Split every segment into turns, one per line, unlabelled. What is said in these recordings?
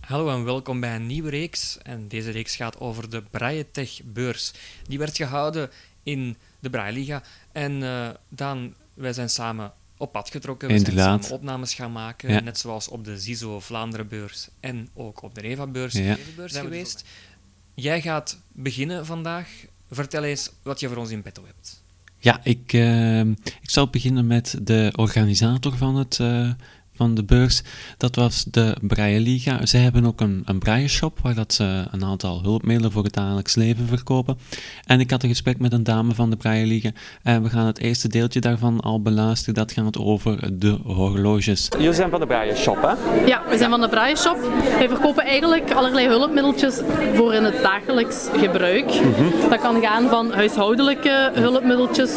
Hallo en welkom bij een nieuwe reeks. En deze reeks gaat over de Braille Tech Beurs. Die werd gehouden in de Braille Liga. En eh, Daan, wij zijn samen op pad getrokken. We zijn
Inderdaad.
samen opnames gaan maken.
Ja.
Net zoals op de Zizo Vlaanderen Beurs en ook op de Reva Beurs
Ja.
beurs
dus
geweest. Jij gaat beginnen vandaag. Vertel eens wat je voor ons in petto hebt.
Ja, ik, eh, ik zal beginnen met de organisator van, het, eh, van de beurs. Dat was de Braille Liga. Ze hebben ook een, een braille shop waar dat ze een aantal hulpmiddelen voor het dagelijks leven verkopen. En ik had een gesprek met een dame van de Braille Liga. En we gaan het eerste deeltje daarvan al beluisteren. Dat gaat over de horloges. Jullie zijn van de Braille Shop, hè?
Ja, we zijn van de Braille Shop. Wij verkopen eigenlijk allerlei hulpmiddeltjes voor in het dagelijks gebruik. Dat kan gaan van huishoudelijke hulpmiddeltjes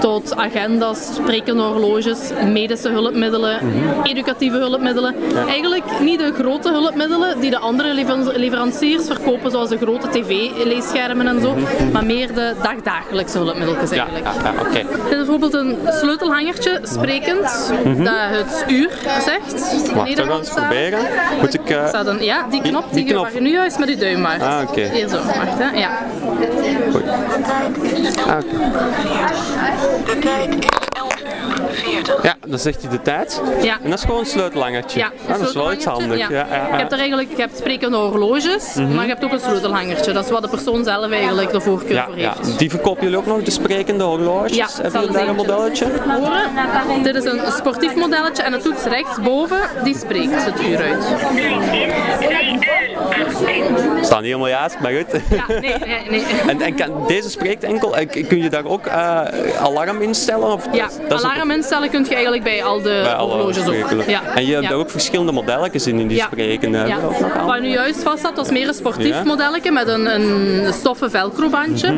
tot agendas, sprekende horloges, medische hulpmiddelen, educatieve hulpmiddelen. Eigenlijk niet de grote hulpmiddelen die de andere lever- leveranciers verkopen, zoals de grote tv-leesschermen en zo, maar meer de dagdagelijkse hulpmiddeltjes eigenlijk.
oké.
Dit is bijvoorbeeld een sleutelhangertje, sprekend, dat het uur zegt.
Mhm.
in
Wacht, we gaan
Nederlands
eens proberen. Moet ik... eh,
Staat een, ja, die knop die,
die knop.
waar je nu juist met je duim maakt.
Ah, oké.
Hier zo, wacht hè. Ja.
Goed. Ah, oké. Ja, dan zegt hij de tijd.
Ja.
En dat is gewoon een sleutelhangertje.
Ja,
Ah, dat is wel iets handig.
sleutelhangertje,
Ja. Ja, Mhm.
Je hebt er eigenlijk, je hebt sprekende horloges, maar je hebt ook een sleutelhangertje. Dat is wat de persoon zelf eigenlijk de voorkeur
ja,
voor
ja.
heeft.
Die verkopen jullie ook nog, de sprekende horloges.
Ja,
hebben
zal
jullie daar een
eens
modelletje?
Horen, dit is een sportief modelletje en het toets rechtsboven, die spreekt het uur uit.
Staan niet helemaal juist, maar goed.
Ja, nee, nee, nee.
En, en kan, deze spreekt enkel, en k- kun je daar ook eh, alarm instellen? Of,
Ja,
dat is ook-
alarm instellen kun je eigenlijk bij al de
bij alle
horloges ook.
sprekende.
Ja.
En je hebt
ja.
daar ook verschillende modelletjes in, in die
Ja.
sprekende.
Ja.
Hebben we dat ook nog aan?
Wat nu juist vast zat, was meer een sportief
Ja. Mhm,
modelletje met een, een stoffen velcrobandje.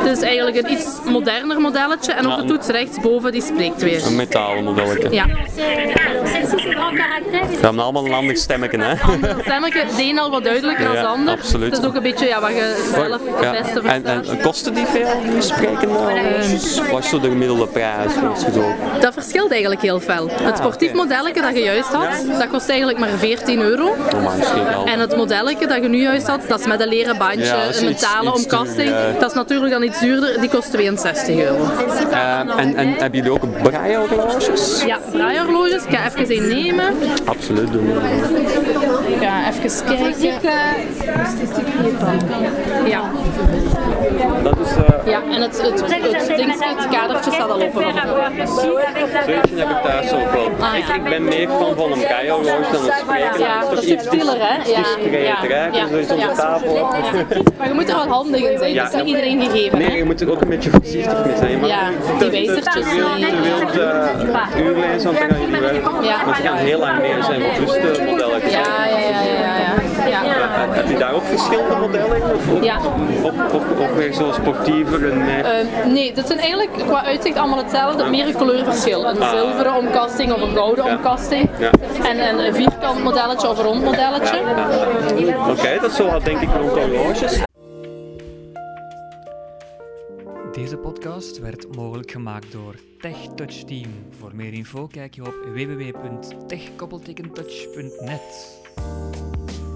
Het is eigenlijk een iets moderner modelletje. En ook de toets rechtsboven, die spreekt weer.
Een metalen modelletje.
Ja,
Celle-ci, c'est grand caractère.
We hebben allemaal een ander stemmetje, hè?
het stemmetje, de een al wat duidelijker
Ja,
dan de ander.
absoluut.
Het is ook een beetje ja, wat je zelf
Ja.
het beste
En,
verstaat.
en kosten die veel, die sprekende? Of nou, eh, Wat is zo de gemiddelde prijs? Als je zo-
Dat verschilt eigenlijk heel fel. Het sportief
Ah, oké.
modelletje dat je juist had, dat kost eigenlijk maar 14 euro.
maar misschien wel.
En het modelletje dat je nu juist had, dat is met een leren bandje,
Ja, dat is
een
iets-
metalen
iets
omkasting.
duurder, ja.
Dat is natuurlijk dan iets duurder, die kost 62 euro.
Ehm, en, en hebben jullie ook braille horloges?
Ja, draaihorloges. Ik ga even een nemen.
Absoluut. doen we.
Ik ga even kijken. Ja,
Dat is... eh
ja en het, het, het, dingetje, het kadertje staat al open.
Faire avoir le sud avec la
Zoiets heb ik thuis ook wel.
Ah, ja.
ik, ik ben meer van, van een braille horloge dan een sprekende.
Ja, dat is subtieler, hè? Ja,
discreter, hè? Dus dat is onder tafel.
Maar je moet er wel handig in zijn, dat is
Ja.
niet iedereen gegeven,
Nee,
hè?
je moet er ook een beetje voorzichtig mee zijn. Maar
Ja,
te- te-
die wijzertjes,
Te wild,
die-
te wild eh, uur lezen, want dan gaan jullie weg.
Ja.
Want ze gaan heel lang mee zijn, want rusten modelletjes.
Ja, ja, ja, ja, ja. ja.
Eh, Heb je daar ook verschillende modellen in? Of ook,
Ja.
ook, ook, ook weer zo sportiever en meer...
Eh, nee, dat zijn eigenlijk qua uitzicht allemaal hetzelfde, meer een kleurverschil. Een zilveren omkasting of een gouden omkasting.
Ah. Ja.
En en een vierkant modelletje of een rond modelletje.
Oké, dat is zo wat denk ik rond de horloges.
Deze podcast werd mogelijk gemaakt door Tech Touch Team. Voor meer info kijk je op www.techkoppeltekentouch.net.